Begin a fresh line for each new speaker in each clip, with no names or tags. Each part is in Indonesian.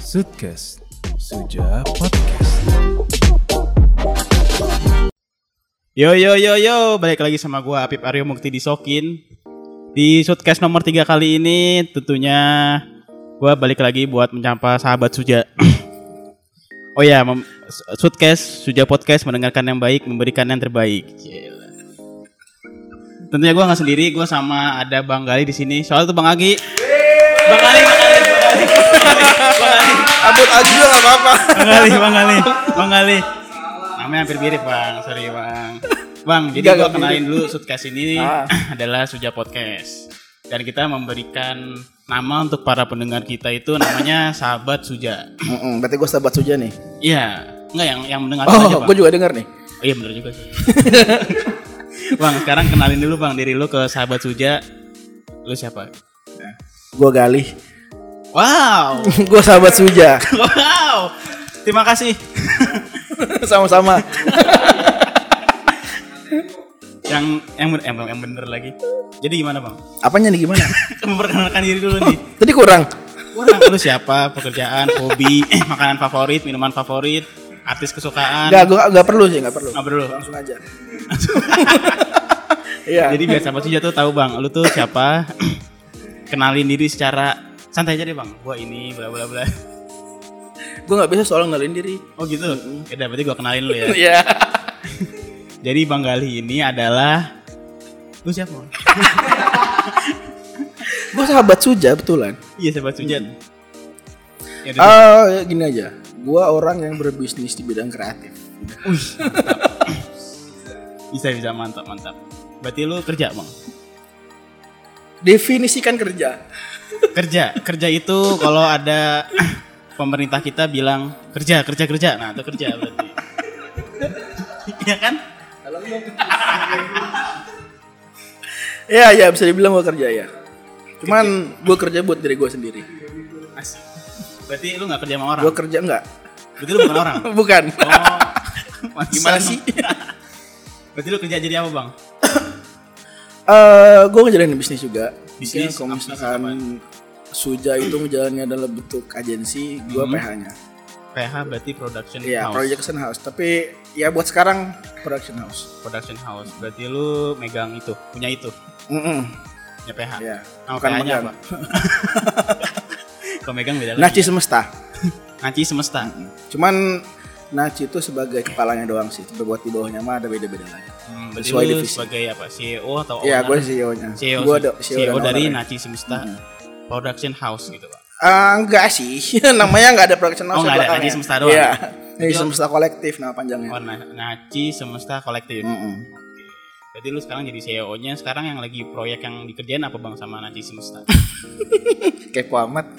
Sudcast Suja Podcast
Yo yo yo yo, balik lagi sama gua Apip Aryo Mukti Disokin. Di shotcast nomor 3 kali ini tentunya gua balik lagi buat menyapa sahabat Suja. oh ya, mem- shotcast Suja Podcast mendengarkan yang baik, memberikan yang terbaik. Gila. Tentunya gua nggak sendiri, gua sama ada Bang Gali di sini. Soalnya tuh Bang Agi. Bang Gali, Bang Gali, Bang Gali. Bang Gali.
Abut aja juga gak apa-apa
Bang Ali, Bang Ali, Bang Ali. Namanya hampir mirip bang, sorry bang. Bang, jadi
Nggak,
gua
nggak
kenalin dulu Sudcast ini
Ah.
adalah Suja Podcast. Dan kita memberikan nama untuk para pendengar kita itu namanya Sahabat Suja.
Berarti gue sahabat Suja nih
Iya, enggak yang yang mendengar aja
Oh
bang.
gue juga denger nih
Oh, iya bener juga sih. bang, sekarang kenalin dulu bang diri lu ke Sahabat Suja. Lu siapa?
Gue Gali
Wow,
Gue sahabat Suja
wow. Terima kasih.
Sama-sama
yang yang bener, yang, yang bener lagi. Jadi gimana bang?
Apanya nih gimana?
Kan memperkenalkan diri dulu nih.
Tadi kurang
Kurang lu siapa, pekerjaan, hobi, eh, makanan favorit, minuman favorit, artis kesukaan.
Gak,
Nah,
gue gak perlu sih gak perlu
Nggak perlu.
Langsung aja Iya
Jadi biar sahabat Suja tuh tahu bang, lu tuh siapa? Kenalin diri secara santai aja deh bang. Gua ini bla bla bla.
Gue gak bisa soal ngelin diri
Oh gitu. Ya udah, berarti gua kenalin lu ya.
Iya
Jadi Bang Gali ini adalah lu siapa? Bang?
Gue sahabat Suja betulan
Iya sahabat Suja. Ya udah,
Ah, Gini aja Gue orang yang berbisnis di bidang kreatif
bisa bisa mantap mantap. Berarti lu kerja bang?
Definisikan kerja
kerja kerja itu kalau ada pemerintah kita bilang kerja kerja kerja nah itu kerja berarti Iya kan
Iya, iya bisa dibilang gue kerja ya Cuman gue kerja buat diri gue sendiri
Asik. berarti lu nggak kerja sama orang
Gue kerja enggak
berarti lu bukan orang
Ah. Bukan
oh
Gimana
pantesan.
sih?
berarti lu kerja jadi apa bang
Eh, gue ngejalanin bisnis juga.
Bisnis,
Bisnis kalau
apa,
misalkan Suja itu ngejalaninnya dalam bentuk agensi, gue PH-nya.
PH berarti production
Iya,
Hmm. house
production house. Tapi ya buat sekarang production house.
production house berarti lu megang itu punya itu
Mm-mm.
punya PH
Iya.
Nama
bukan
PH-nya
megang. Nah,
apa? Kalau megang beda
Naci
lagi
semesta.
Naci semesta
Cuman Naci itu sebagai kepalanya doang sih. Tapi buat di bawahnya mah ada beda-beda lagi.
Hmm, berarti
Sesuai
lu
divisi.
sebagai apa CEO atau
Iya,
owner?
gue CEO-nya.
CEO,
Gue
CEO, E dari Naci Semesta Production House gitu pak.
Ah, enggak sih, namanya enggak ada production house.
Oh, enggak ada,
belakangnya.
Naci Semesta doang.
Iya, Naci
Itu-
semesta kolektif nama panjangnya.
Oh, Na- Naci Semesta Collective.
Mm-mm.
Berarti lu sekarang jadi CEO-nya. Sekarang yang lagi proyek yang dikerjain apa bang sama Naci Semesta?
Kepo amat.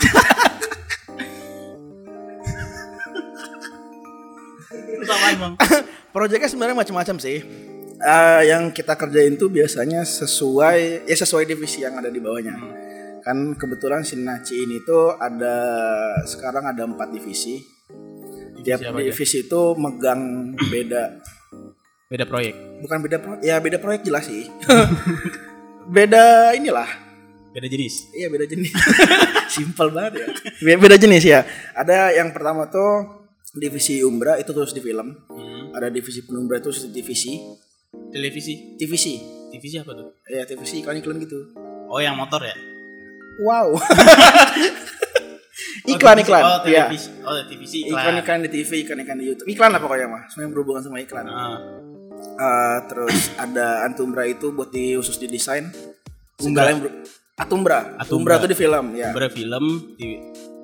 Terus apaan bang?
Proyeknya sebenarnya macam-macam sih. Eh, yang kita kerjain tuh biasanya sesuai ya sesuai divisi yang ada di bawahnya. Kan kebetulan si Naci ini tuh ada sekarang ada empat divisi. Tiap
apa aja?
divisi itu megang beda
Beda proyek.
bukan beda pro, ya beda proyek jelas sih. beda inilah.
Beda jenis.
Iya beda jenis. Simpel banget ya. Be- Beda jenis ya. Ada yang pertama tuh divisi Umbra itu terus di film.
Hmm.
Ada divisi Penumbra itu terus di divisi
Televisi.
TVC.
Televisi apa tuh?
Ya TVC iklan-iklan gitu.
Oh yang motor ya?
Wow.
Oh,
Iklan-iklan.
televisi- Oh
Iya.
televisi. Oh televisi iklan.
Iklan-iklan di TV, iklan-iklan di YouTube. Iklan lah pokoknya mah. Semua yang berhubungan sama iklan.
Ah.
Eh, terus ada Antumbra itu buat di khusus di desain.
Umbra.
Segala yang ber- Atumbra. Atumbra.
Atumbra.
itu di film, ya.
Penumbra film. Di...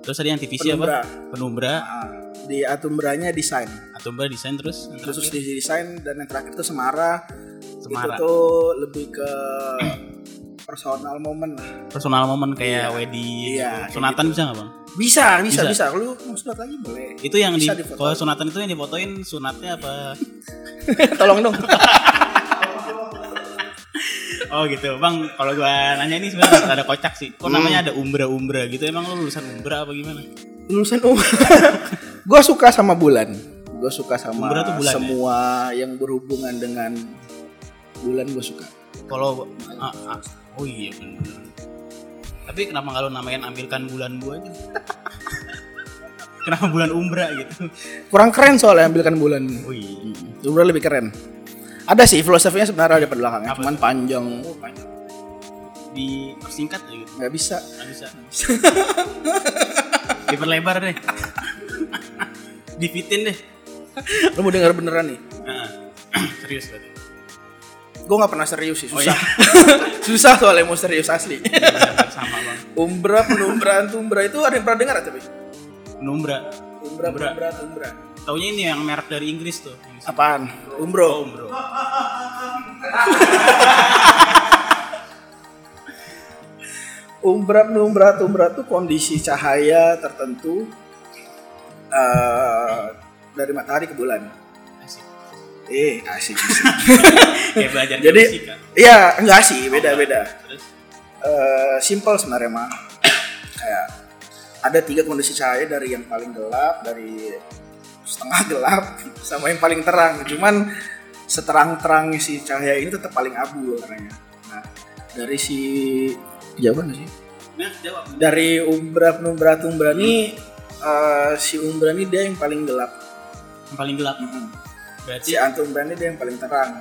Terus tadi yang televisi
Penumbra.
apa? Penumbra.
Ah, di Atumbranya desain.
Atumbra desain terus. yang
Khusus
terakhir.
di desain dan yang terakhir itu Semara. Itu
Semara.
tuh lebih ke personal moment lah.
Personal moment kayak
Iya,
wedding. gitu.
kayak
Sunatan bisa nggak bang?
Bisa, bisa,
Bisa.
bisa. Lu mau surat lagi boleh.
Itu yang
Bisa
di
difotoin.
kalau sunatan itu yang difotoin sunatnya apa?
Tolong dong.
Oh gitu, bang. Kalau gua nanya ini sebenarnya nggak ada kocak sih. Kok namanya ada umbra umbra gitu? Emang lu lulusan umbra apa gimana?
lulusan umum gue oh. suka sama bulan gue suka sama
Umbra tuh bulan, ya?
semua yang berhubungan dengan bulan gue suka
Kalau ah, ah, oh iya bener. Tapi kenapa nggak lu namain ambilkan bulan gua aja? Kenapa bulan Umbra gitu? Oh, iya.
kurang keren soalnya ambilkan bulan
Wih.
Umbra lebih keren ada sih filosofinya sebenarnya ada pada belakangnya
Apa?
cuman panjang
Oh, panjang. Dipersingkat ya gitu.
nggak bisa
Nggak bisa. Diperlebar deh. Dipitin deh.
lu mau dengar beneran nih
Nah, serius berarti.
gue nggak pernah serius sih
Oh,
susah susah soalnya mau serius asli
Iya, Sama bang.
umbra penumbraan tumbra itu ada yang pernah dengar tapi
Numbra.
umbra
Umbra.
penumbra tumbra
Taunya ini yang merek dari Inggris tuh.
apaan umbro
Umbro.
umbra penumbra tumbra itu kondisi cahaya tertentu eh, dari matahari ke bulan
Asik.
eh asik
Kayak belajar
jadi
fisika.
iya enggak sih beda beda
Terus
eh simple sebenarnya mah kayak ada tiga kondisi cahaya dari yang paling gelap dari setengah gelap sama yang paling terang cuman seterang-terangnya si cahaya ini tetap paling abu warnanya nah dari si jawaban sih
Nah, jawab.
dari umbra penumbra tumbra ini eh, si umbra ini dia yang paling gelap
Yang paling gelap.
si Iya.
Berarti
antumbra ini dia yang paling terang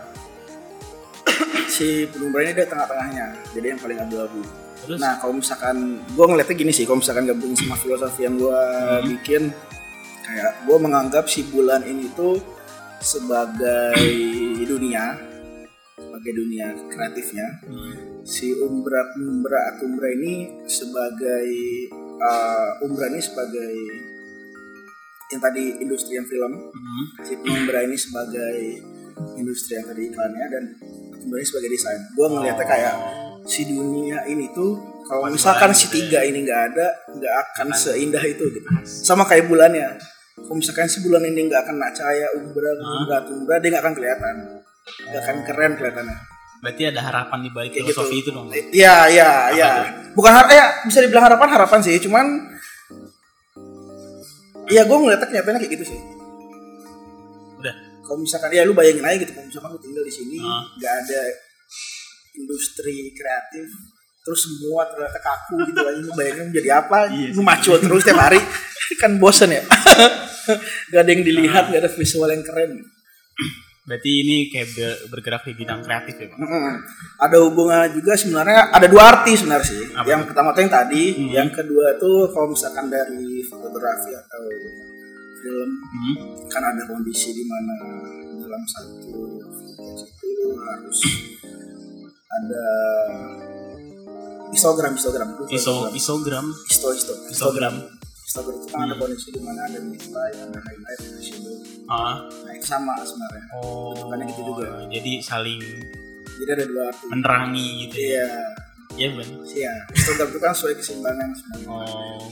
si penumbra ini dia tengah-tengahnya jadi yang paling abu-abu
terus
Nah kalau misalkan gue ngeliatnya gini sih, kalau misalkan gabung sama filosofi yang gue bikin, kayak gue menganggap si bulan ini tuh sebagai dunia, sebagai dunia kreatifnya.
Hmm.
Si umbra umbra atau umbra ini sebagai eh, umbra ini sebagai yang tadi industri yang film,
Hmm.
si umbra ini sebagai industri yang tadi iklannya dan umbra ini sebagai desain. Gue ngeliatnya kayak si dunia ini tuh kalau misalkan si tiga ini nggak ada nggak akan seindah itu gitu sama kayak bulannya kalau misalkan si bulan ini nggak kena cahaya umbra umbra umbra dia nggak akan kelihatan nggak akan keren kelihatannya
berarti ada harapan di balik
Kayak
filosofi itu dong. Bang.
iya iya iya bukan har ya bisa dibilang harapan harapan sih cuman Iya gue ngeliatnya kenyataannya kayak gitu sih
Udah.
kalau misalkan ya lu bayangin aja gitu kalau misalkan lu tinggal di sini
Ah.
nggak ada industri kreatif terus semua ternyata kaku gitu aja lu bayangin menjadi apa
Iya sih.
lu maco terus tiap hari kan bosen ya nggak ada yang dilihat nggak ada visual yang keren
Berarti ini kayak be- bergerak di bidang kreatif ya, Bang.
Mm-mm. ada hubungan juga sebenarnya ada dua arti sebenarnya sih
Apa
yang
tuh?
pertama tuh yang tadi
Hmm.
yang kedua tuh kalau misalkan dari fotografi atau film
Hmm.
kan ada kondisi di mana dalam satu footage itu harus ada histogram histogram itu
Iso isogram,
histo histo
isogram.
histogram itu kan ada
Mm-hmm.
kondisi di mana ada nilai ada highlight ada shadow
Ah.
nah itu sama sebenarnya
Oh.
Bentukannya gitu juga.
Jadi saling
jadi ada dua arti
menerangi gitu.
iya
Iya, Bang.
iya histogram itu kan sesuai keseimbangan sebenarnya
Oh.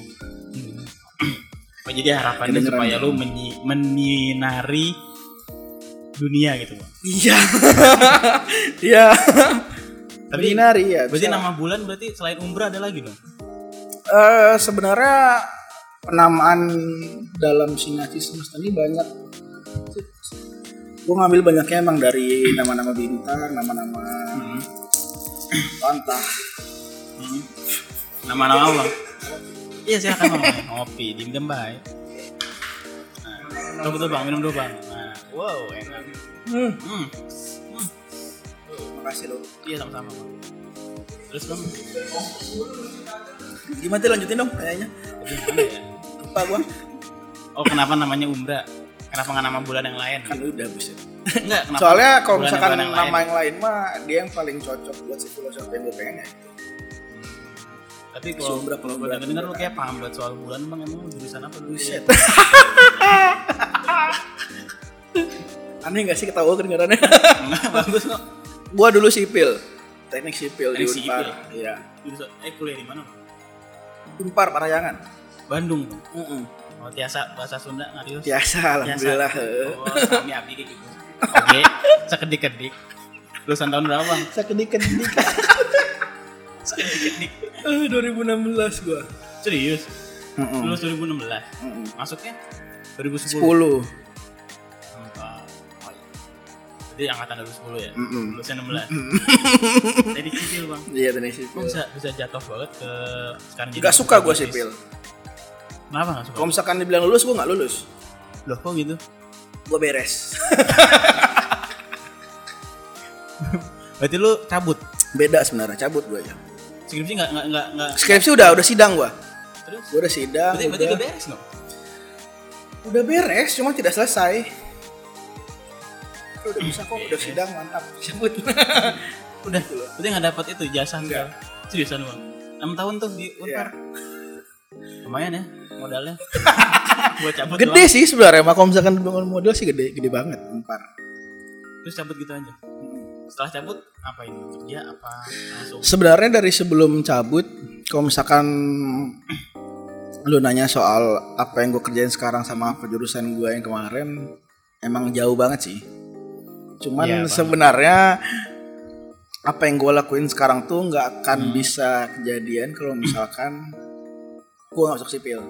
Oh, jadi harapannya
Kedengeran.
supaya lu menyi- menyinari dunia gitu, Bang.
iya iya
Tapi-
Menyinari, ya
Berarti
bisa.
nama bulan berarti selain Umbra ada lagi dong?
Eh, sebenarnya penamaan dalam sinasi semesta ini banyak gue ngambil banyaknya emang dari nama-nama bintang nama-nama Hmm. lantah
Hmm. Nama-nama Bang. Iya, silakan Bang. Ngopi, dingdem bay. Nah, tunggu dulu Bang, minum dulu Bang. Nah, wow, enak.
hmm.
Hmm.
makasih loh
Iya, sama-sama Bang. Terus Bang,
gimana tuh lanjutin dong kayaknya
tadi mana ya?
lupa gue
Oh, kenapa namanya Umbra? Kenapa nggak nama bulan yang lain?
kan udah buset
Enggak, kenapa?
soalnya kalau
ya. bulan yang-
misalkan
bulan yang
nama
lain?
yang lain mah dia yang paling cocok buat si filosofi yang gue pengen ya.
Tapi kalau
Umbra,
kalau
Umbra,
gue denger denger lu
Umbra.
kayak paham banget soal bulan, Bang. Emang lu jurusan apa lu?
buset aneh gak sih ketawa kedengarannya
Enggak, bagus kok.
gue dulu sipil teknik sipil
Teknik
di Unpar
sipil.
iya
Jurusan eh kuliah di mana? Bang?
Unpar Parayangan
Bandung. Bang.
Mm-mm.
Oh, tiasa bahasa Sunda ngarius.
biasa Ya, alhamdulillah
Oh, kami abdi kayak gitu. Oke, sekedik-kedik. Lulusan tahun berapa, Bang?
sekedik-kedik
Sekedik-kedik.
Eh, 2016 gue
Serius? Lulus 2016. Masuknya
10
2010. Hmm, ah, oh iya. Jadi angkatan 2010 ya?
Mm-mm.
Lulusnya 16. Jadi kecil, Bang.
iya teknik
Kok
sipil
bisa bisa jatuh banget ke sekarang jadi
Gak suka gue
aktivis?
sipil
Kenapa nggak suka?
Kalau misalkan dibilang lulus, gue nggak lulus.
Loh kok gitu?
Gue beres.
Berarti lu cabut.
Beda sebenarnya, cabut gue ya.
Skripsi nggak nggak nggak nggak.
Skripsi udah udah sidang gue.
Terus?
Gue udah sidang.
Berarti berarti
udah,
udah beres dong.
udah beres, cuma tidak selesai. Udah bisa kok, udah sidang mantap. Cabut.
Udah. Berarti nggak dapat itu jasa enggak. Seriusan bang. 6 tahun tuh di
Iya.
Unpar. Lumayan ya modalnya. Buat cabut
Gede
doang.
sih sebenarnya, mah kalau misalkan dibangun model sih gede, gede banget. Empar.
Terus cabut gitu aja. Setelah cabut apa ini? Kerja apa langsung?
Sebenarnya dari sebelum cabut, kalau misalkan lu nanya soal apa yang gue kerjain sekarang sama jurusan gue yang kemarin, emang jauh banget sih. Cuman
Iya, Bang.
sebenarnya apa yang gue lakuin sekarang tuh nggak
Hmm.
akan bisa kejadian kalau misalkan gue nggak masuk sipil,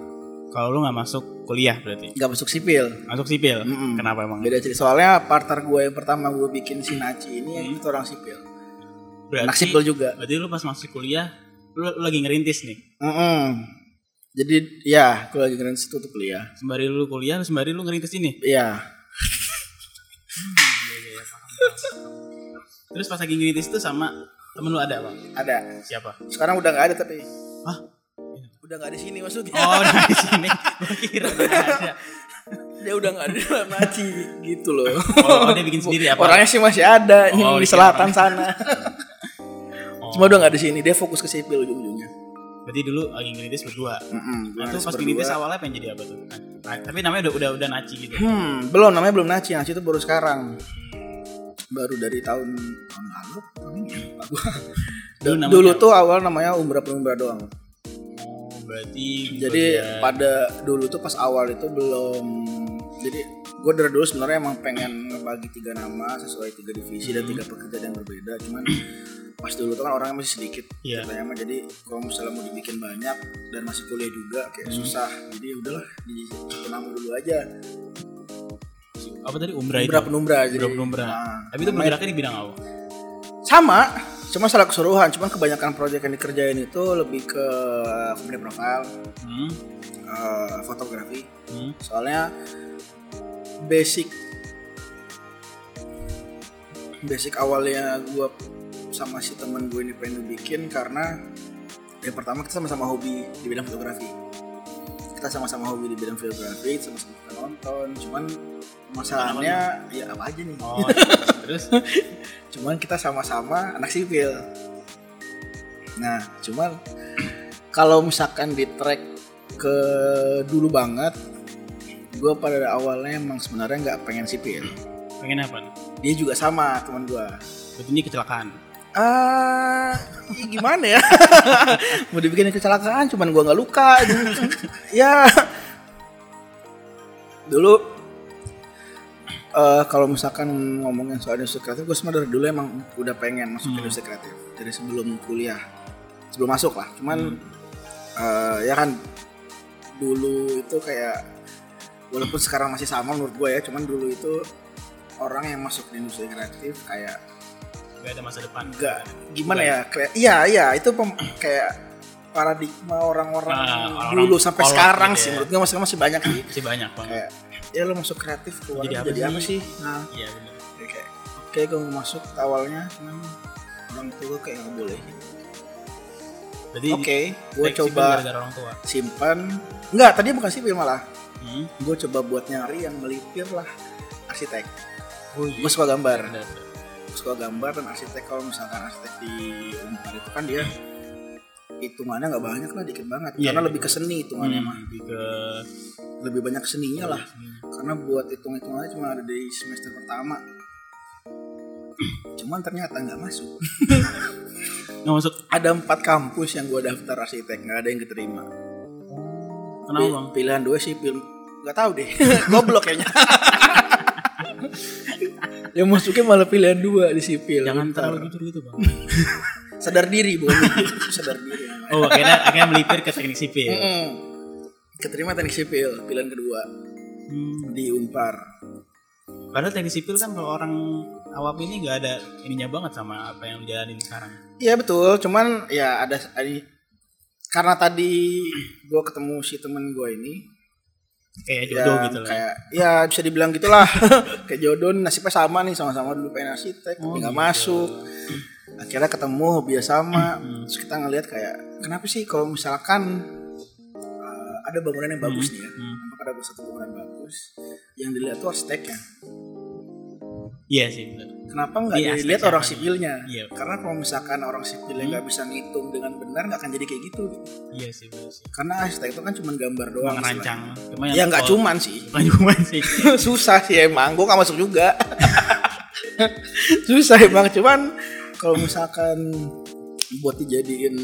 Kalau lu nggak masuk kuliah berarti.
nggak masuk sipil.
Masuk sipil.
Mm-mm.
Kenapa emang?
Beda cerita soalnya partner gue yang pertama gue bikin sinaci ini itu orang sipil, anak
Hmm. Berarti,
sipil juga.
berarti lu pas masuk kuliah lu, lu lagi ngerintis nih.
Mm-mm. Jadi ya, gue lagi keren situ tuh kuliah.
Sembari lu kuliah, sembari lu ngerintis ini.
Iya.
Terus pas lagi ngerintis itu sama temen lu ada bang?
Ada.
Siapa?
Sekarang udah nggak ada tapi
Hah?
udah nggak ada di sini maksudnya.
Oh dari sini. Gua kira udah ada.
Dia udah nggak ada di dalam hati gitu loh.
Oh, oh, dia bikin sendiri apa?
Orangnya sih masih ada
Oh,
yang di
iya,
selatan sana. Cuma udah nggak ada di sini. Dia fokus ke sipil ujung-ujungnya.
Berarti dulu lagi ngerintis berdua.
Mm-mm, gua
Nah, itu
harus
pas
berdua.
ngerintis awalnya pengen jadi apa tuh? Nah, tapi namanya udah udah udah naci gitu.
Hmm, belum namanya belum naci. Naci itu baru sekarang. Baru dari tahun tahun lalu. tahun ini, ya? lupa gua.
Dulu namanya-
Dulu tuh awal namanya umrah penumbra doang.
Oh, berarti
Jadi
bagian-
pada dulu tuh pas awal itu belum jadi gue dari dulu sebenarnya emang pengen bagi tiga nama sesuai tiga divisi
Hmm.
dan tiga pekerjaan yang berbeda cuman pas dulu tuh kan orangnya masih sedikit
Iya.
ceritanya mah jadi kalau misalnya mau dibikin banyak dan masih kuliah juga kayak
Hmm.
susah jadi udahlah di satu nama dulu aja
apa tadi umrah Nah, itu?
penumbra penumbra jadi
Umrah penumbra.
Nah,
tapi itu bergeraknya di bidang apa?
sama cuma salah keseluruhan cuman kebanyakan proyek yang dikerjain itu lebih ke company profile
Hmm.
eh, fotografi
Hmm.
soalnya basic basic awalnya gue sama si temen gue ini pengen bikin karena yang pertama kita sama-sama hobi di bidang fotografi kita sama-sama hobi di bidang fotografi sama-sama suka nonton cuman masalahnya ya apa aja nih
Oh, terus
cuman kita sama-sama anak sipil nah cuman kalau misalkan di track ke dulu banget gue pada awalnya emang sebenarnya nggak pengen sipil
pengen apa?
dia juga sama teman gue
Berarti ini kecelakaan.
ah ih, gimana ya mau dibikin kecelakaan cuman gue nggak luka ya dulu eh kalau misalkan ngomongin soal industri kreatif, gue sebenarnya dari dulu emang udah pengen masuk ke industri kreatif dari sebelum kuliah, sebelum masuk lah. Cuman eh, ya kan dulu itu kayak walaupun sekarang masih sama menurut gue ya, cuman dulu itu orang yang masuk di industri kreatif kayak
Gak ada masa depan.
gak gimana ya kayak iya iya itu pem- kayak paradigma orang-orang
Nah, orang-orang
dulu sampai
kolot
sekarang
gitu
sih
ya.
menurut gue masih masih banyak sih
Masih banyak banget.
kayak ya lo masuk kreatif keluar
Jadi
jadi,
apa
apa
sih?
sih, nah
Iya benar.
ya kayak oke gue mau masuk awalnya cuman orang tua gue kayak nggak boleh
Berarti
oke gue
fleksibel
coba
kan gara-gara orang tua.
simpan nggak tadi bukan sipil malah
Hmm.
gue coba buat nyari yang melipir lah arsitek
Oh, iya.
gue suka gambar
Benar.
gue suka gambar dan arsitek kalau misalkan arsitek di Unpar itu kan dia hitungannya nggak banyak lah dikit banget
Iya,
karena
iya.
lebih ke seni hitungannya
Hmm,
mah
lebih ke
lebih banyak seninya lah karena buat hitung-hitungannya cuma ada di semester pertama cuman ternyata nggak masuk
nggak masuk
ada empat kampus yang gue daftar arsitek nggak ada yang keterima
kenapa
Pi-
bang?
pilihan dua sih film nggak tahu deh goblok kayaknya yang masuknya malah pilihan dua di sipil
Jangan
Pintar.
terlalu jujur gitu bang.
sadar diri bukan jujur, sadar diri namanya.
Oh akhirnya akhirnya melipir ke teknik sipil.
Mm-mm. keterima teknik sipil pilihan kedua
Hmm.
di unpar
Padahal teknik sipil kan kalau orang awam ini nggak ada ininya banget sama apa yang lu jalanin sekarang.
iya betul cuman ya ada ada karena tadi gue ketemu si temen gue ini
Kayak jodoh
yang
gitu lah.
Iya,
ya.
kayak ya bisa dibilang gitulah kayak jodoh nih, nasibnya sama nih sama-sama dulu pengen arsitek tapi nggak masuk akhirnya ketemu hobinya sama terus kita ngelihat kayak kenapa sih kalau misalkan uh, ada bangunan yang bagus nih ya Kenapa ada satu bangunan yang bagus yang dilihat tuh arsiteknya
Iya sih benar.
kenapa nggak
Iya,
dilihat
arsiteknya.
orang sipilnya
Iya. Hmm.
karena kalau misalkan orang sipilnya nggak bisa ngitung dengan benar nggak akan jadi kayak gitu
Iya sih benar sih.
karena arsitek itu kan cuma gambar doang
Bang rancang. Cuma
istilahnya. ya nggak
kalau-
cuman sih
Nggak cuman sih.
susah sih emang gue gak masuk juga susah emang cuman kalau misalkan buat dijadiin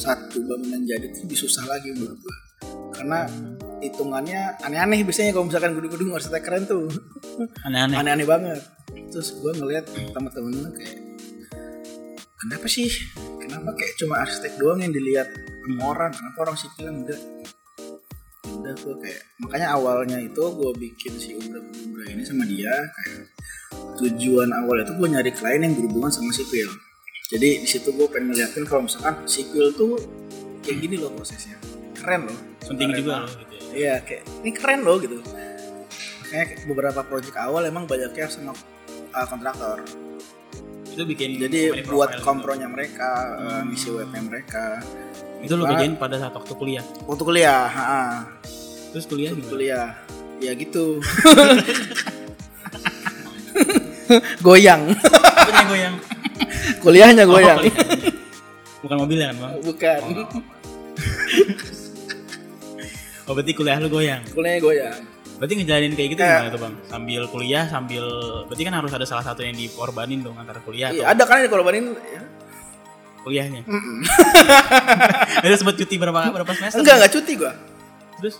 satu bangunan jadi itu lebih susah lagi menurut gue karena
Hmm.
hitungannya aneh-aneh biasanya kalau misalkan gedung-gedung arsitek keren tuh
Aneh-aneh.
aneh-aneh banget terus gue ngeliat teman-teman gue kayak kenapa sih kenapa kayak cuma arsitek doang yang dilihat sama orang kenapa orang sipil yang enggak udah gue kayak makanya awalnya itu gue bikin si umbra umbra ini sama dia kayak tujuan awal itu gue nyari klien yang berhubungan sama sipil jadi di situ gue pengen ngeliatin kalau misalkan sipil tuh kayak gini loh prosesnya keren loh
Penting
Keren
juga
banget.
loh gitu. ya.
Iya kayak ini keren loh gitu. Kayak beberapa proyek awal emang banyaknya sama uh, kontraktor.
Itu bikin
Jadi
company
buat
profile Hmm.
kompronya mereka, uh, ngisi webnya mereka.
gitu. Itu lo kerjain pada saat waktu kuliah.
Untuk kuliah, ha,
Terus kuliah
untuk
gimana?
kuliah. Ya gitu. goyang.
Apanya goyang?
Kuliahnya
Oh,
goyang.
kuliah. Bukan mobilnya kan, Bang?
Bukan.
Oh, berarti kuliah lu goyang.
Kuliahnya goyang.
Berarti ngejalanin kayak gitu
Eh.
gimana tuh, Bang? Sambil kuliah, sambil berarti kan harus ada salah satu yang dikorbanin dong antara kuliah
Iya, ada kan yang dikorbanin ya.
atau kuliahnya. Ada sempat cuti berapa berapa semester?
Enggak, enggak cuti gua.
Terus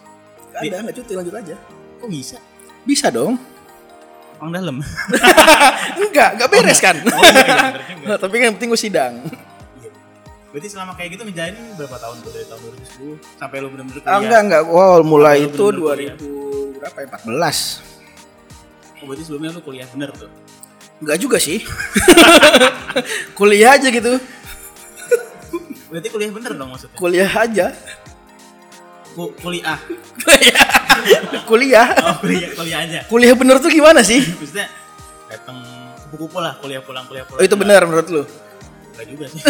Enggak ada, enggak cuti lanjut aja.
kok bisa?
Bisa dong.
Orang dalam.
enggak, enggak beres kan.
Oh, iya, iya, bener juga. Iya.
Nah, tapi kan yang penting gue sidang.
Berarti selama kayak gitu ngejalanin berapa tahun tuh dari tahun 2010 sampai lu bener-bener
Ah,
kuliah?
enggak enggak. Wow, mulai
Lu
itu
Iya, bener-bener
2000 berapa ya? 14.
Oh, berarti sebelumnya lu kuliah bener tuh.
Enggak juga sih. kuliah aja gitu.
Berarti kuliah bener dong maksudnya.
Kuliah aja.
Ku- kuliah.
kuliah.
Oh, kuliah kuliah aja.
Kuliah bener tuh gimana sih?
Maksudnya datang kupu-kupu lah kuliah pulang kuliah pulang.
Oh, itu benar menurut lu.
Enggak juga sih.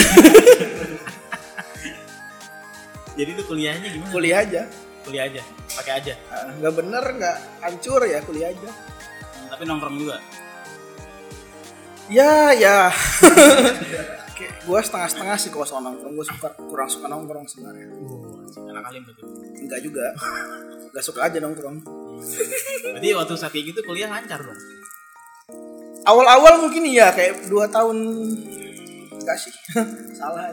Jadi lu kuliahnya gimana?
Kuliah aja.
Kuliah aja, pakai aja.
Ah, Enggak bener, enggak hancur ya kuliah aja.
Tapi nongkrong juga.
Ya, ya. Kayak gue setengah-setengah sih kalau soal nongkrong gue suka kurang suka nongkrong sebenarnya
Anak alim gitu.
enggak juga enggak suka aja nongkrong
Berarti waktu saat kayak gitu kuliah lancar dong.
awal-awal mungkin iya kayak dua tahun enggak sih salah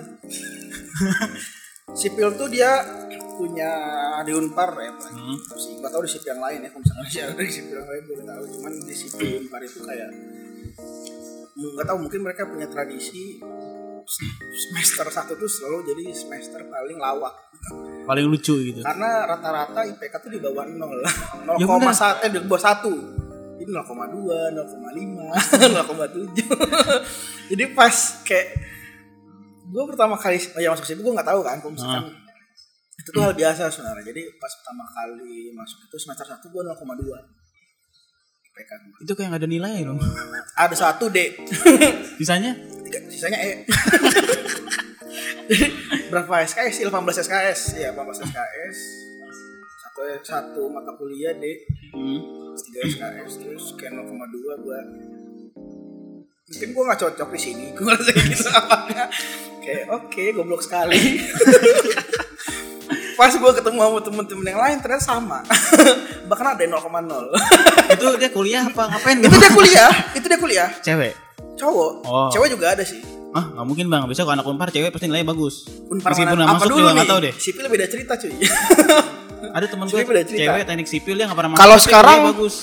sipil tuh dia punya di unpar ya Pak.
Hmm.
sih gua tahu di sipil yang lain ya kalau misalnya sih ada di sipil yang lain gue nggak tahu cuman di sipil unpar itu kayak nggak tahu mungkin mereka punya tradisi semester satu tuh selalu jadi semester paling lawak
Paling lucu gitu.
karena rata-rata IPK tuh di bawah 0
Ya
0,1
bener.
eh di bawah 1 jadi 0,2 0,5 0,7 jadi pas kayak gue pertama kali oh ya masuk sini gue nggak tahu kan kalau misalkan
Ah.
itu tuh hal biasa sebenarnya jadi pas pertama kali masuk itu semester 1 gue 0,2 IPK gue
Itu kayak nggak ada nilai dong.
ada satu D
Sisanya
Tiga- sisanya E berapa SKS sih 18 SKS ya 18 SKS satu satu mata kuliah D
Hmm.
tiga SKS terus kayak 0,2 gua mungkin gua nggak cocok di sini gua ngerasa kayak gitu awalnya kayak oke goblok sekali pas gua ketemu sama temen-temen yang lain ternyata sama bahkan ada yang 0,0
itu dia kuliah apa ngapain
itu dia kuliah itu dia kuliah
Cewek.
cowok
Oh.
cewek juga ada sih
Ah, nggak mungkin bang. Biasanya kalau anak unpar cewek pasti nilai bagus.
Unpar
Meskipun
mana-
nggak masuk juga nggak tahu deh.
Sipil beda cerita cuy.
Ada teman gue
Sipil beda cerita.
cewek teknik sipil dia nggak pernah masuk.
Kalau
tapi
sekarang-
nilainya bagus.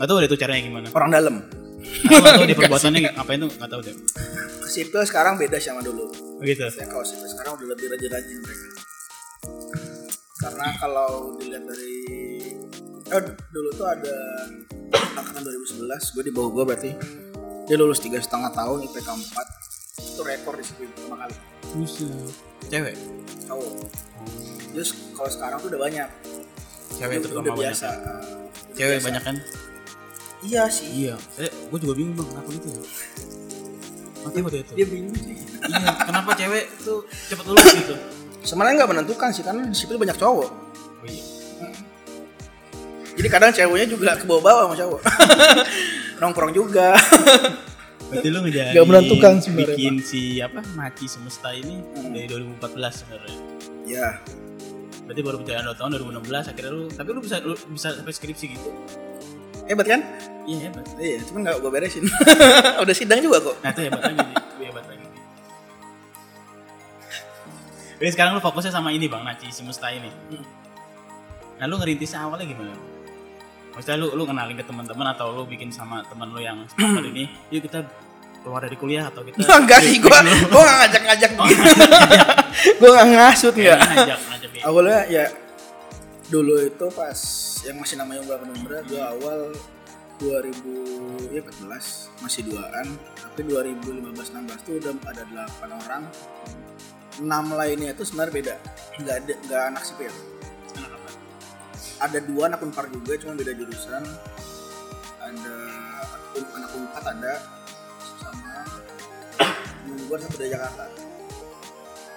Gak tahu deh itu caranya gimana.
Orang dalam.
Aku nggak tahu deh perbuatannya ngapain tuh nggak tahu deh.
Sipil sekarang beda sama dulu.
Gitu.
Ya kalau sipil sekarang udah lebih rajin-rajin mereka. Karena kalau dilihat dari eh, dulu tuh ada angkatan 2011, gue di bawah gue berarti dia lulus tiga setengah tahun IPK 4 itu rekor di situ pertama kali
Cewek.
cowok terus kalau sekarang tuh udah banyak
Cewek
udah,
terutama
udah
banyak.
biasa eh, udah
Cewek
biasa.
banyak kan?
iya sih
Iya. Eh, gue juga bingung bang, kenapa gitu ya? Mati waktu itu.
dia bingung sih
iya. Kenapa cewek tuh cepet lulus gitu?
sebenarnya nggak menentukan sih karena di situ banyak cowok
Oh iya.
jadi kadang ceweknya juga ke bawah-bawah sama cowok nongkrong juga
Berarti lu ngejalin
Nggak menentukan sebenarnya,
bikin si apa Maci Semesta ini
Hmm.
dari 2014 sebenarnya.
ya
Berarti baru berjalan 2 tahun 2016 akhirnya lu tapi lu bisa lu bisa sampai skripsi gitu.
hebat kan
Iya hebat.
iya cuman nggak gue beresin udah sidang juga kok
Nah itu hebat lagi nih. Itu hebat lagi. nih. Jadi sekarang lu fokusnya sama ini Bang Maci Semesta ini. Nah lu ngerintisnya awalnya gimana? Maksudnya lu, lu kenalin ke teman-teman atau lu bikin sama teman lu yang seperti ini, yuk kita keluar dari kuliah atau kita
enggak sih gue gue nggak ngajak-ngajak gitu gue nggak ngasut nggak
ngajak ngajak dia.
awalnya ya dulu itu pas yang masih namanya Umbra Penumbra gue awal 2000 ya 14 masih duaan tapi 2015 16 tuh udah ada 8 orang 6 lainnya itu sebenarnya beda nggak ada nggak anak sipil ada dua anak unpar juga cuma beda jurusan ada anak unpar ada sama temen gua satu dari Jakarta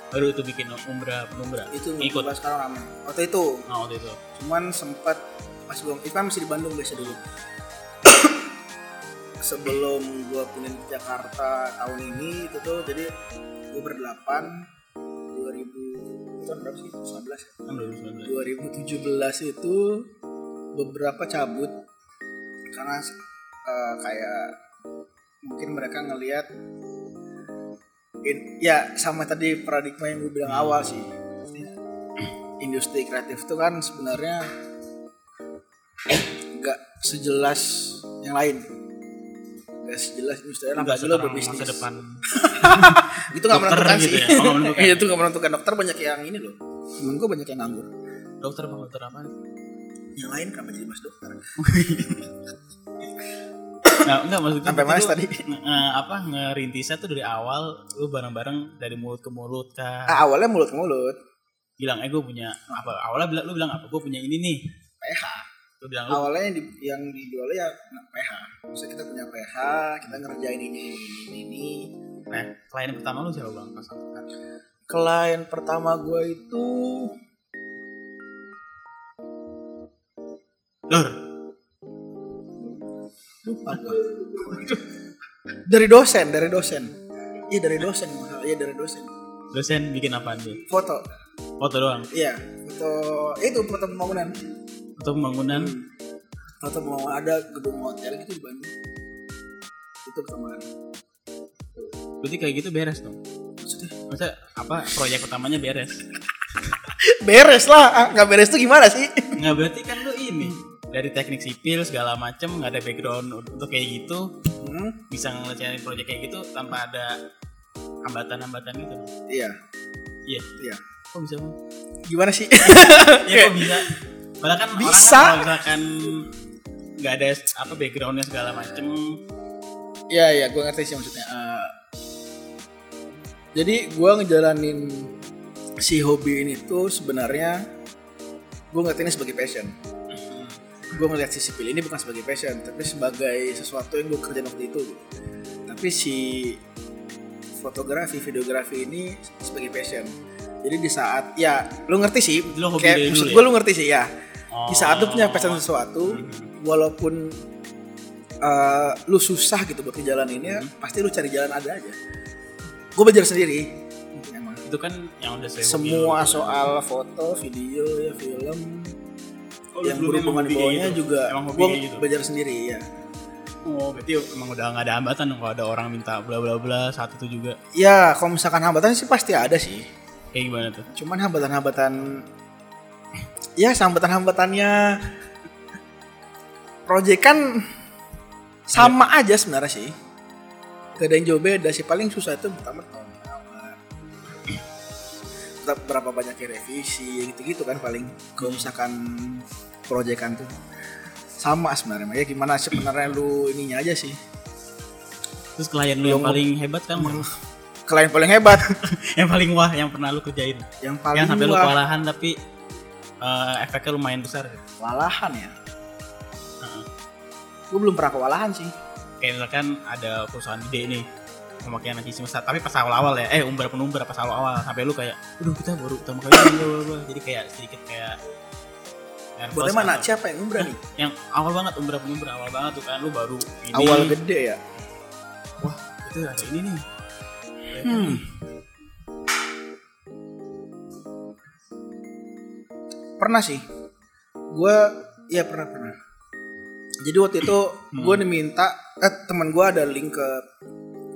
Baru itu bikin umbra penumbra.
itu ikut
ikut.
sekarang ramai waktu itu
Nah, waktu itu.
cuman sempat pas belum itu kan masih di Bandung biasa dulu sebelum gua pindah ke Jakarta tahun ini itu tuh jadi gua berdelapan 2000 tahun berapa sih ya? 19
Kan 2019.
2017 itu beberapa cabut karena eh, kayak mungkin mereka ngelihat in- ya sama tadi paradigma yang gue bilang awal sih industri kreatif itu kan sebenarnya nggak sejelas yang lain nggak sejelas industri lain
Enggak
apalagi lo
sekarang masa
berbisnis
depan.
itu nggak
Dokter
menentukan
gitu
sih
ya? Oh, nggak menentukan.
Iya, itu nggak menentukan dokter banyak yang ini loh temen gue banyak yang nganggur
Dokter bang dokter apa?
yang lain kenapa jadi mas dokter
Nah, enggak maksudnya
Sampai mana
lu,
tadi?
eh, apa ngerintisnya tuh dari awal lu bareng-bareng dari mulut ke mulut kah?
Ah, awalnya mulut ke mulut
Bilang eh gue punya apa? Awalnya bilang lu bilang apa? Gue punya ini nih.
PH
Lu bilang lu
awalnya yang, di, yang dijual ya nah, PH maksudnya kita punya PH kita ngerjain ini ini ini, ini.
nah, klien pertama lu siapa bang? Pas aku kan.
klien pertama gue itu
Lur,
lupa gue dari dosen dari dosen iya dari dosen masalah. iya dari dosen
dosen bikin apaan dia?
foto
Foto doang.
iya foto itu foto pembangunan
Untuk pembangunan
foto pembangunan ada gedung hotel gitu di Bandung itu pertama kali
berarti kayak gitu beres dong.
maksudnya
Maksudnya apa proyek utamanya beres?
beres lah Ah, nggak beres tuh gimana sih
Nggak berarti kan lu ini dari teknik sipil segala macem nggak ada background untuk kayak gitu
Hmm,
bisa ngelecain proyek kayak gitu tanpa ada hambatan-hambatan gitu.
iya
Iya,
iya
kok bisa bang?
gimana sih
Iya kok bisa? Padahal kan
Bisa.
orang kan kalau misalkan nggak ada apa backgroundnya segala macem
Iya iya gue ngerti sih maksudnya. Eh, jadi gue ngejalanin si hobi ini tuh sebenarnya gue ngerti ini sebagai passion.
Hmm.
Gue ngeliat si sipil ini bukan sebagai passion, tapi sebagai sesuatu yang gue kerjain waktu itu. gitu. Tapi si fotografi, videografi ini sebagai passion. Jadi di saat ya lu ngerti sih,
Lu hobi
kayak
dari
maksud
dulu
gue
ya?
lu ngerti sih ya. Di saat lu punya passion sesuatu, walaupun eh, lu susah gitu buat ngejalaninnya,
Hmm.
pasti lu cari jalan ada aja. Gue belajar sendiri. Emang.
itu kan yang udah saya iya.
Semua soal foto, video, ya film,
Oh,
yang berhubungan di bawahnya juga
emang hobi
gue
kayak gitu.
belajar sendiri ya.
Oh, berarti emang udah nggak ada hambatan dong kalau ada orang minta bla bla bla saat itu juga
Ya kalau misalkan hambatan sih pasti ada sih.
kayak gimana tuh?
Cuman hambatan-hambatan, ya hambatan-hambatannya project kan sama aja
Iya.
sebenarnya sih. Gak ada yang jauh beda sih. Paling susah itu pertama tahun pertama. Tetap berapa banyak revisi gitu-gitu kan paling kalau misalkan proyekan tuh sama sebenarnya ya gimana sebenarnya lu ininya aja sih
Terus klien lu yang
Yang-
paling hebat kan?
Emang- klien paling hebat
yang paling wah yang pernah lu kerjain
yang paling
yang sampai lu
wah.
kewalahan tapi eh, efeknya lumayan besar
kewalahan ya gue belum pernah kewalahan sih
kayak misalkan ada perusahaan gede nih memakai energi semesta tapi pas awal-awal ya eh umbar penumbar pas awal-awal sampai lu kayak aduh kita baru pertama kali ini, bla, bla, bla." jadi kayak sedikit kayak nervous
buat emang
atau-
siapa yang berani
yang awal banget umbar penumbar awal banget tuh kan lu baru ini
awal gede ya
wah itu ada ini nih
Hmm. pernah sih gue ya pernah pernah jadi waktu itu gue diminta eh teman gue ada link ke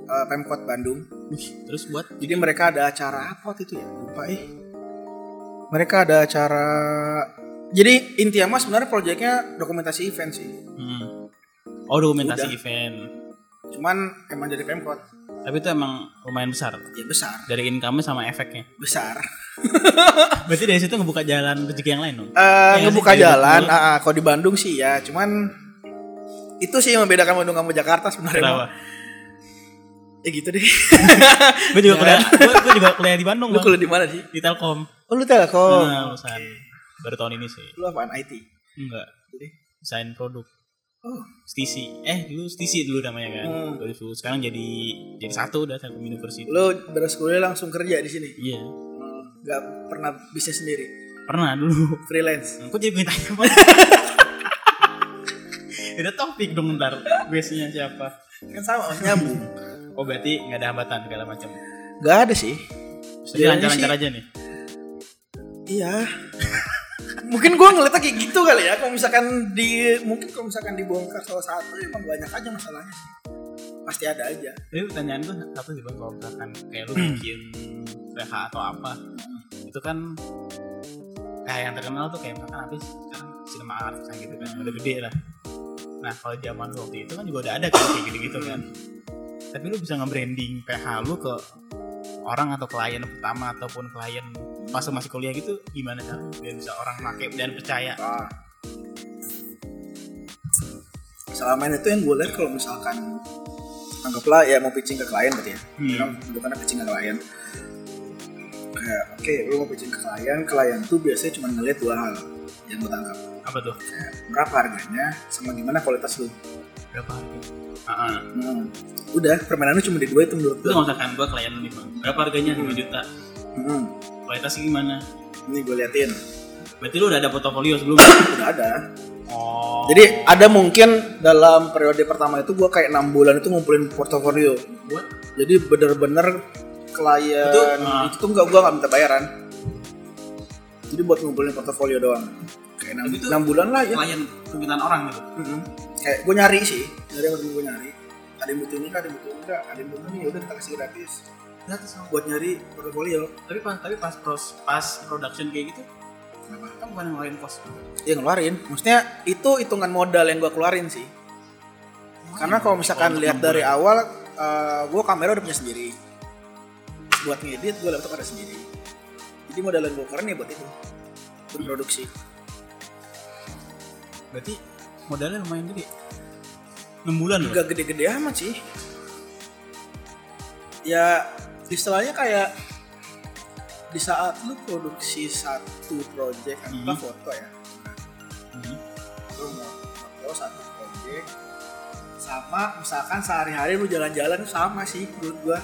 eh, pemkot Bandung
Wih, terus buat
jadi mereka ada acara apa waktu itu ya lupa eh mereka ada acara jadi intinya mas sebenarnya proyeknya dokumentasi event sih
hmm. oh dokumentasi
Udah.
event
cuman emang dari pemkot
tapi itu emang lumayan besar
ya besar
dari income sama efeknya
besar
berarti dari situ ngebuka jalan rezeki yang lain dong
Eh
Iya
ngebuka
sih, kayak
jalan
gitu.
ah, ah, kalau di Bandung sih ya cuman itu sih yang membedakan Bandung sama Jakarta sebenarnya
kenapa
ya gitu deh
gue juga kuliah gue, juga kuliah di Bandung
lu
Bang.
kuliah di mana sih
di Telkom
oh lu telkom
Nah, lulusan baru tahun ini sih
lu apaan IT
enggak
Jadi?
desain produk
oh
STC eh dulu STC dulu namanya kan
Hmm.
2010. sekarang jadi jadi satu udah Telkom University
lu beres kuliah langsung kerja di sini
iya
nggak pernah bisnis sendiri
pernah dulu
freelance
Kok jadi gue tanya Bang? Ada topik dong ntar Biasanya siapa
kan sama nyambung
Oh berarti gak ada hambatan segala macam
nggak ada sih
Jadi
Jalannya
lancar-lancar
sih-
aja nih
iya mungkin gua ngeliatnya kayak gitu kali ya kalau misalkan di mungkin kalau misalkan dibongkar salah satu emang banyak aja masalahnya sih pasti ada aja
Tapi pertanyaan gue satu sih bang Kalau misalkan kayak lu bikin PH atau apa Itu kan Kayak yang terkenal tuh kayak misalkan habis Sekarang cinema arts kan gitu kan Udah gede lah Nah kalau zaman lu waktu itu kan juga udah ada kan kayak gitu-gitu kan Tapi lu bisa nge-branding PH lu ke orang atau klien pertama ataupun klien pas lu masih kuliah gitu gimana cara biar bisa orang pakai dan percaya
Ah. Selama ini tuh yang gue lihat kalau misalkan anggaplah ya mau pitching ke klien berarti ya.
Hmm.
Bukan bukannya pitching ke klien. Kayak oke, lu mau pitching ke klien, klien tuh biasanya cuma ngeliat dua hal yang gue tangkap.
apa tuh
Kayak berapa harganya sama gimana kualitas lu.
berapa harga Heeh.
Hmm. Udah, permainannya cuma di dua itu menurut
itu
gue.
nggak usah kan gue klien nih bang berapa harganya 5 juta
Hmm.
kualitasnya gimana
Ini gue liatin.
Berarti lu udah ada portofolio sebelumnya?
Udah ada.
Oh.
Jadi ada mungkin dalam periode pertama itu gue kayak enam bulan itu ngumpulin portofolio.
buat
jadi bener-bener klien itu,
Itu, ah.
tuh nggak gua nggak minta bayaran jadi buat ngumpulin portofolio doang kayak enam,
Tapi itu-
enam bulan lah ya
klien permintaan orang gitu.
Mm-mm. kayak gue nyari sih nyari yang gue nyari ada yang butuh ini ada yang butuh ini nggak, ada yang butuh ini ya udah kita kasih gratis
Iya,
buat nyari portofolio
Tapi pas tapi pas pros, pas production kayak gitu
kenapa
kan bukan yang lain cost.
ya ngeluarin maksudnya itu hitungan modal yang gua keluarin sih karena kalau misalkan
Untuk
lihat
enam
dari
bulan.
awal eh, gua kamera udah punya sendiri buat ngedit gua laptop ada sendiri jadi modal yang gua keluarin ya buat itu buat produksi
berarti modalnya lumayan gede. 6 bulan loh.
gak gede-gede amat sih ya istilahnya kayak di saat lu produksi satu project apa
Hmm.
foto ya
Hmm.
lu mau foto satu project sama misalkan sehari-hari lu jalan-jalan sama sih menurut gua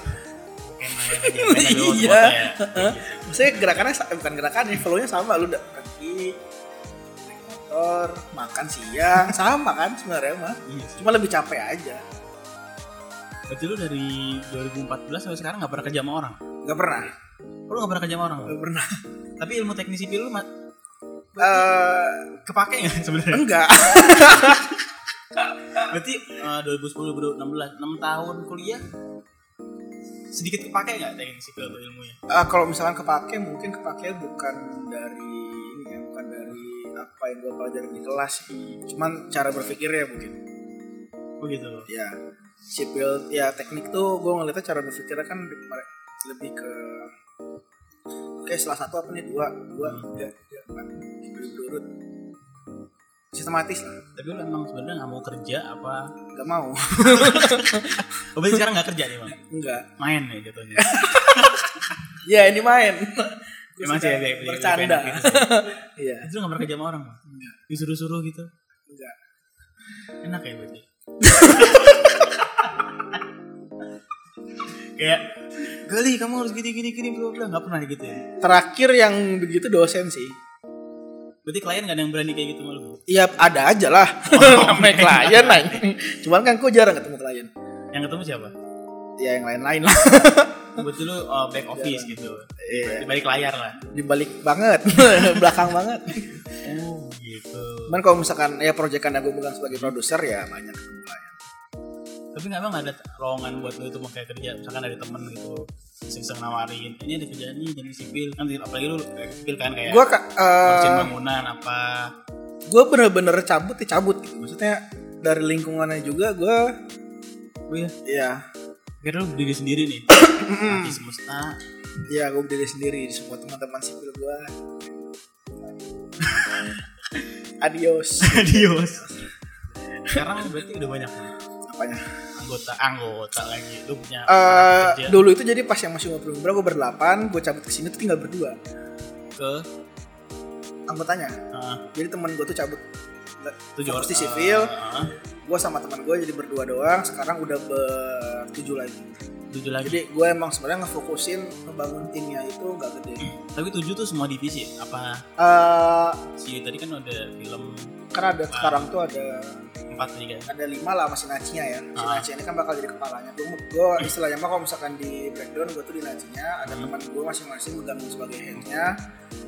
Kayak main aja, main aja
Iya.
lewat kota ya.
Heeh. maksudnya gerakannya sa- eh, bukan gerakannya follow-nya sama lu udah pergi naik motor makan siang sama kan sebenarnya mah
Iya sih.
cuma lebih capek aja
Berarti lu dari 2014 sampai sekarang gak pernah kerja sama orang.
nggak pernah
Oh, Lu gak pernah kerja sama orang.
nggak pernah
Tapi ilmu teknik sipil lu ma-
Eh,
kepake gak sebenarnya?
enggak
Berarti eh, 2010 2016 6 tahun kuliah sedikit kepake gak teknik sipil atau ilmunya?
Ah, kalau misalkan kepake mungkin kepake bukan dari ini ya, bukan dari apa yang gue pelajari di kelas sih. cuman cara berpikirnya mungkin
Oh gitu.
ya sipil ya teknik tuh gue ngeliatnya cara berpikirnya kan lebih kemar- lebih ke
Hmm.
oke salah satu apa nih dua dua tiga tiga empat berurut sistematis lah
Tapi lu emang sebenarnya nggak mau kerja apa?
nggak mau
Oh, berarti sekarang nggak kerja nih bang?
enggak
Main nih jatuhnya.
ya ini main Gua
Emang sih,
suka
lebih- gitu lebih-
bercanda
lebih enak
iya
Itu nggak pernah kerja sama orang bang? Disuruh-suruh gitu.
enggak
Enak ya berarti. Kayak Gali kamu harus gini gini gini bla bla nggak pernah gitu ya.
terakhir yang begitu dosen sih
Berarti klien nggak ada yang berani kayak gitu sama lu. Bang?
Iya ada aja lah
Oh,
namanya
iya.
klien lah Cuman kan gue jarang ketemu klien.
Yang ketemu siapa?
Ya yang lain-lain lah
Berarti lu uh, back office gitu.
Iya.
Di balik layar lah.
dibalik banget, belakang banget.
Oh gitu.
Cuman kalau misalkan ya proyekan yang gue pegang sebagai produser ya banyak ketemu klien.
Tapi nggak bang ada lowongan buat lu itu mau kayak kerja. Misalkan ada temen gitu iseng-iseng nawarin ini ada kerjaan nih jadi sipil kan apalagi lu sipil kan kayak
Gue ka-
ngurusin
eh,
bangunan apa
gue bener-bener cabut ya cabut gitu. Maksudnya dari lingkungannya juga gue
oh iya
ya
kira lu berdiri sendiri nih nanti semesta
ya gue berdiri sendiri di semua teman-teman sipil gue. Adios.
Adios. Sekarang berarti udah banyak nih
Apanya?
anggota anggota lagi. Lu punya
Eh,
kerja
dulu itu jadi pas yang masih ngobrol ngobrol gue berdelapan, gue cabut ke sini tuh tinggal berdua
ke
anggotanya.
eh,
Jadi teman gue tuh cabut
tujuh
Fokus di
orang.
sipil.
Eh,
gue sama teman gue jadi berdua doang sekarang udah bertujuh lagi
tujuh lagi.
jadi gue emang sebenarnya ngefokusin ngebangun timnya itu gak gede
Tapi tujuh tuh semua divisi. ya? Apa
Eh,
si tadi kan ada film
karena ada sekarang tuh ada
empat nih kan?
ada lima lah masih nacinya ya si
Ah.
nacinya ini kan bakal jadi kepalanya gue gue istilahnya mah kalau misalkan di breakdown gue tuh di nacinya ada teman gue masing-masing megang sebagai headnya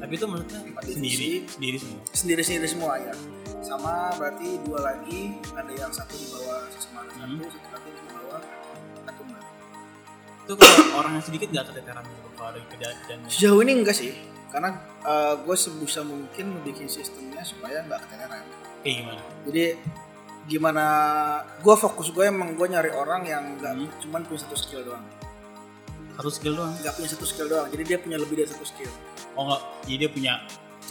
Tapi itu maksudnya
Empat
sendiri,
divisi.
sendiri semua.
sendiri-sendiri semua ya sama berarti dua lagi ada yang satu di bawah sesama ada satu satu lagi di bawah satu
Itu kalau orang yang sedikit nggak keteteran gitu kalau ada kerjaan kerjaan.
Sejauh ini enggak sih, karena eh, gue sebisa mungkin bikin sistemnya supaya nggak keteteran.
Kayak gimana?
Jadi gimana gue fokus gue emang gue nyari orang yang nggak cuman punya satu skill doang,
Satu skill doang.
nggak punya satu skill doang. Jadi dia punya lebih dari satu skill.
Oh nggak, jadi dia punya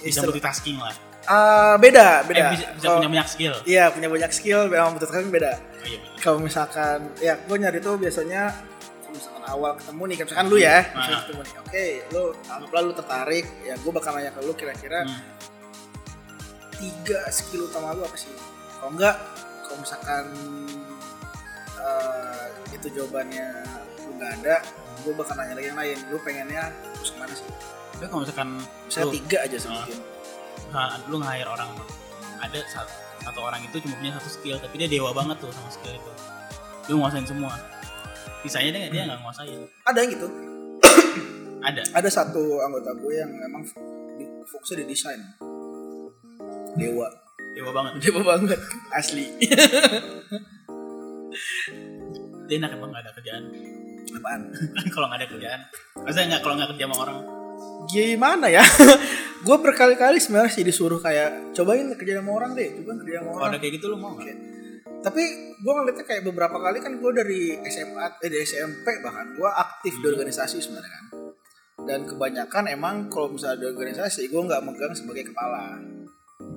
bisa
Istilah-
multitasking lah.
Ah, beda,
Eh,
beda.
bisa, bisa
Kalau-
punya banyak skill.
Iya punya banyak skill, memang betul kan beda.
Oh, iya benar.
Kalau misalkan ya gue nyari tuh biasanya kalau misalkan awal ketemu nih, kayak misalkan lu ya, misalkan
Ah.
ketemu nih, oke, lu anggaplah lu tertarik, ya gue bakal nanya ke lu kira-kira
Hmm.
tiga skill utama lu apa sih? Kalau enggak, kalau misalkan eh, itu jawabannya lu nggak ada, gue bakal nanya lagi yang lain. Lu pengennya terus kemana sih?
Tapi kalau misalkan
Saya
lu-
tiga aja sebutin.
Nah, lu nge-hire orang ada satu, satu orang itu cuma punya satu skill tapi dia dewa banget tuh sama skill itu dia nguasain semua sisanya dia dia nggak nguasain
Ada yang gitu.
ada
Ada satu anggota gue yang memang di- fokusnya di desain. Dewa,
dewa banget
dewa banget, asli.
dia enak emang nggak ada kerjaan
Apaan?
kalau nggak ada kerjaan maksudnya nggak kalau nggak kerja sama orang
Gimana ya? gue berkali-kali sebenarnya sih disuruh kayak cobain kerja sama orang deh, cobain kerja sama
kalau
orang.
ada kayak gitu lu mau nggak
Oh. Oke. Tapi gue ngeliatnya kayak beberapa kali kan gue dari SMA, eh dari SMP bahkan gue aktif di organisasi sebenarnya kan. Dan kebanyakan emang kalau misalnya di organisasi gue nggak megang sebagai kepala.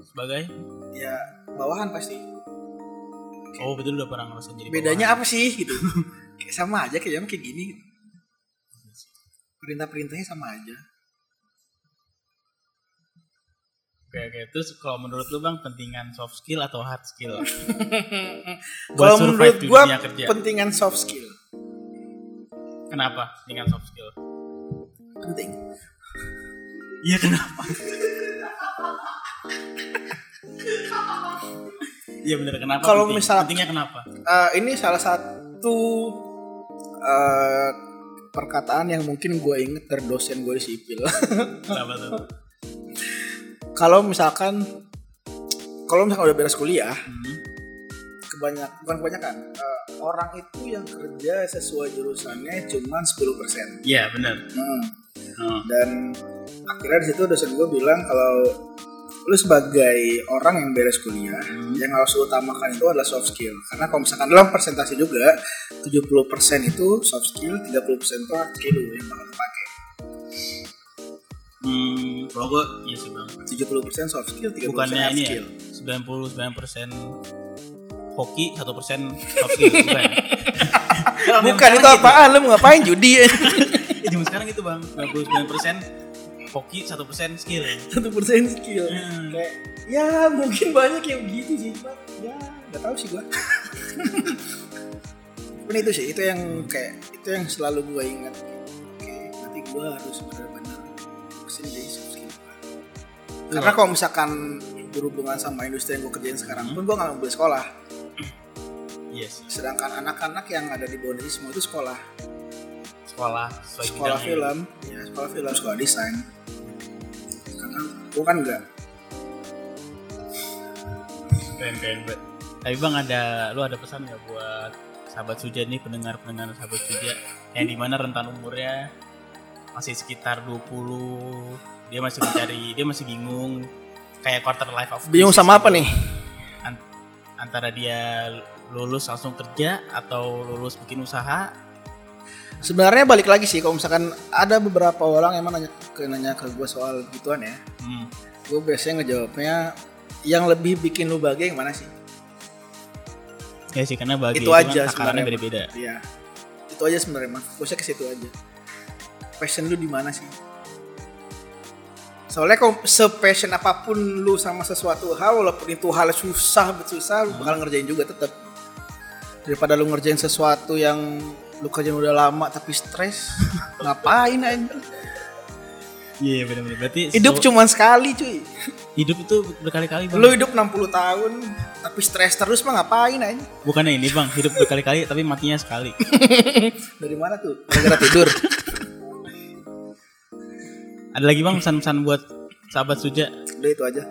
sebagai
Ya bawahan pasti.
oh betul lu udah pernah ngerasain jadi
Bedanya apa sih gitu? kayak sama aja kayak kayak gini. gitu. Perintah-perintahnya sama aja.
bawahan. oke oke terus kalau menurut lu bang pentingan soft skill atau hard skill
Kalau
survive
menurut
di
gue
dunia kerja.
pentingan soft skill
kenapa pentingan soft skill
penting.
iya kenapa Iya bener kenapa?
Kalau
penting?
misal-
pentingnya kenapa?
Eh, ini salah satu eh, perkataan yang mungkin gue inget dari dosen gue di sipil.
Kenapa tuh?
kalau misalkan kalau misalkan udah beres kuliah,
Hmm.
kebanyak bukan kebanyakan eh, orang itu yang kerja sesuai jurusannya cuman 10%.
Iya benar.
Hmm.
Oh.
Dan akhirnya di situ dosen gue bilang kalau lu sebagai orang yang beres kuliah yang harus lu utamakan itu adalah soft skill karena kalau misalkan dalam presentasi juga 70% itu soft skill 30% itu hard skill lu yang bakal dipakai
Hmm. Kalau gue iya sih bang.
70% soft skill, 30%
Bukannya
hard
ini ya.
skill.
99% hoki, 1% soft skill. Bukan. Kalau zaman
Bukan itu
sekarang
apaan? Lu mau ngapain judi?
gitu. Ya, zaman sekarang gitu bang. 99% hoki, 1% skill.
Satu persen skill.
Hmm.
Kayak ya mungkin banyak yang begitu sih, cuma ya nggak tahu sih gua. Cuman itu sih, itu yang kayak itu yang selalu gua ingat. Oke, nanti gua harus benar-benar kesini jadi soft skill. Karena kalau misalkan berhubungan sama industri yang gua kerjain sekarang pun gua nggak boleh sekolah.
Yes.
Sedangkan anak-anak yang ada di bawah ini semua itu sekolah.
Sekolah sesuai
sekolah
bidangnya.
film ya sekolah film sekolah desain karena gua kan enggak
Keren keren banget. Tapi bang ada lu ada pesan nggak buat sahabat Suja nih pendengar pendengar sahabat Suja yang dimana rentan umurnya masih sekitar 20 dia masih mencari dia masih bingung kayak quarter life of
bingung
crisis
sama apa
gitu.
nih
An- antara dia lulus langsung kerja atau lulus bikin usaha
sebenarnya balik lagi sih kalau misalkan ada beberapa orang yang emang nanya ke nanya ke gua soal gituan ya
hmm,
gua biasanya ngejawabnya yang lebih bikin lu bahagia yang mana sih
ya sih karena bagi
itu aja
takarannya
sebenarnya
beda-beda
iya itu aja sebenarnya mas fokusnya ke situ aja passion lu di mana sih soalnya kalau sepassion apapun lu sama sesuatu hal walaupun itu hal susah bet susah lu
Hmm.
bakal ngerjain juga tetap daripada lu ngerjain sesuatu yang lu kerjain udah lama tapi stres ngapain aja
iya benar-benar berarti
hidup
so-
cuman sekali cuy
hidup itu berkali-kali bang
lu hidup 60 tahun tapi stres terus mah ngapain aja
bukannya ini bang hidup berkali-kali tapi matinya sekali
dari mana tuh gara-gara tidur
Ada lagi bang pesan-pesan buat sahabat Suja?
udah itu aja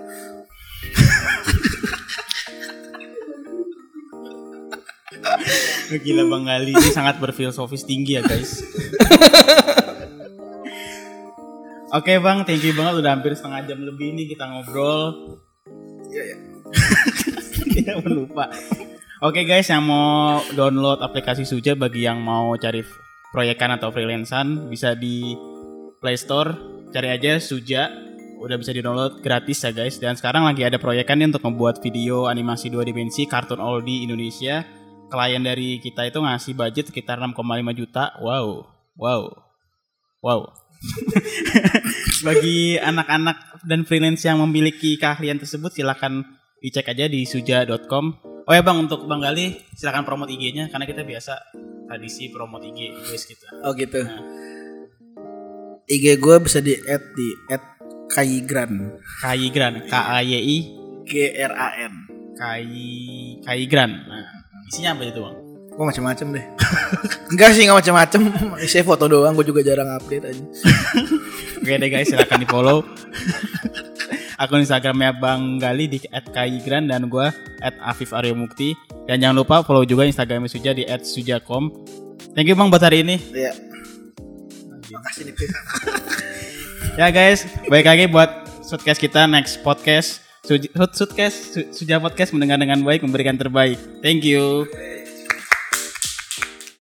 Gila bang Gali ini sangat berfilosofis tinggi ya guys. Oke bang, thank you banget udah hampir setengah jam lebih nih kita ngobrol.
iya ya
Tidak Iya, lupa. Oke guys, yang mau download aplikasi Suja bagi yang mau cari proyekan atau freelancean bisa di Play Store cari aja Suja udah bisa di download gratis ya guys dan sekarang lagi ada proyekan nih untuk membuat video animasi dua dimensi kartun all di Indonesia klien dari kita itu ngasih budget sekitar 6,5 juta wow wow wow bagi anak-anak dan freelance yang memiliki keahlian tersebut silakan dicek aja di suja.com oh ya bang untuk Bang Gali silakan promote IG-nya karena kita biasa tradisi promote IG guys kita
Oh gitu. IG gue bisa di add di add Kaigran.
Kaigran, K A Y I
G R A N.
Kai Kaigran. Nah, isinya apa itu, Bang?
Gue macam-macam deh. Enggak sih nggak macam-macam. Isinya foto doang. Gue juga jarang update aja.
Oke deh guys, silahkan di follow akun Instagramnya Bang Gali di @kaigran dan gue @afif Aryo Mukti dan jangan lupa follow juga Instagramnya Suja di @suja.com. Thank you Bang buat hari ini.
Iya. Makasih nih. Pip.
Ya guys, baik lagi buat podcast kita next podcast. Suj- Sud- Sudcast, Su- Suja Podcast mendengar dengan baik, memberikan terbaik. Thank you.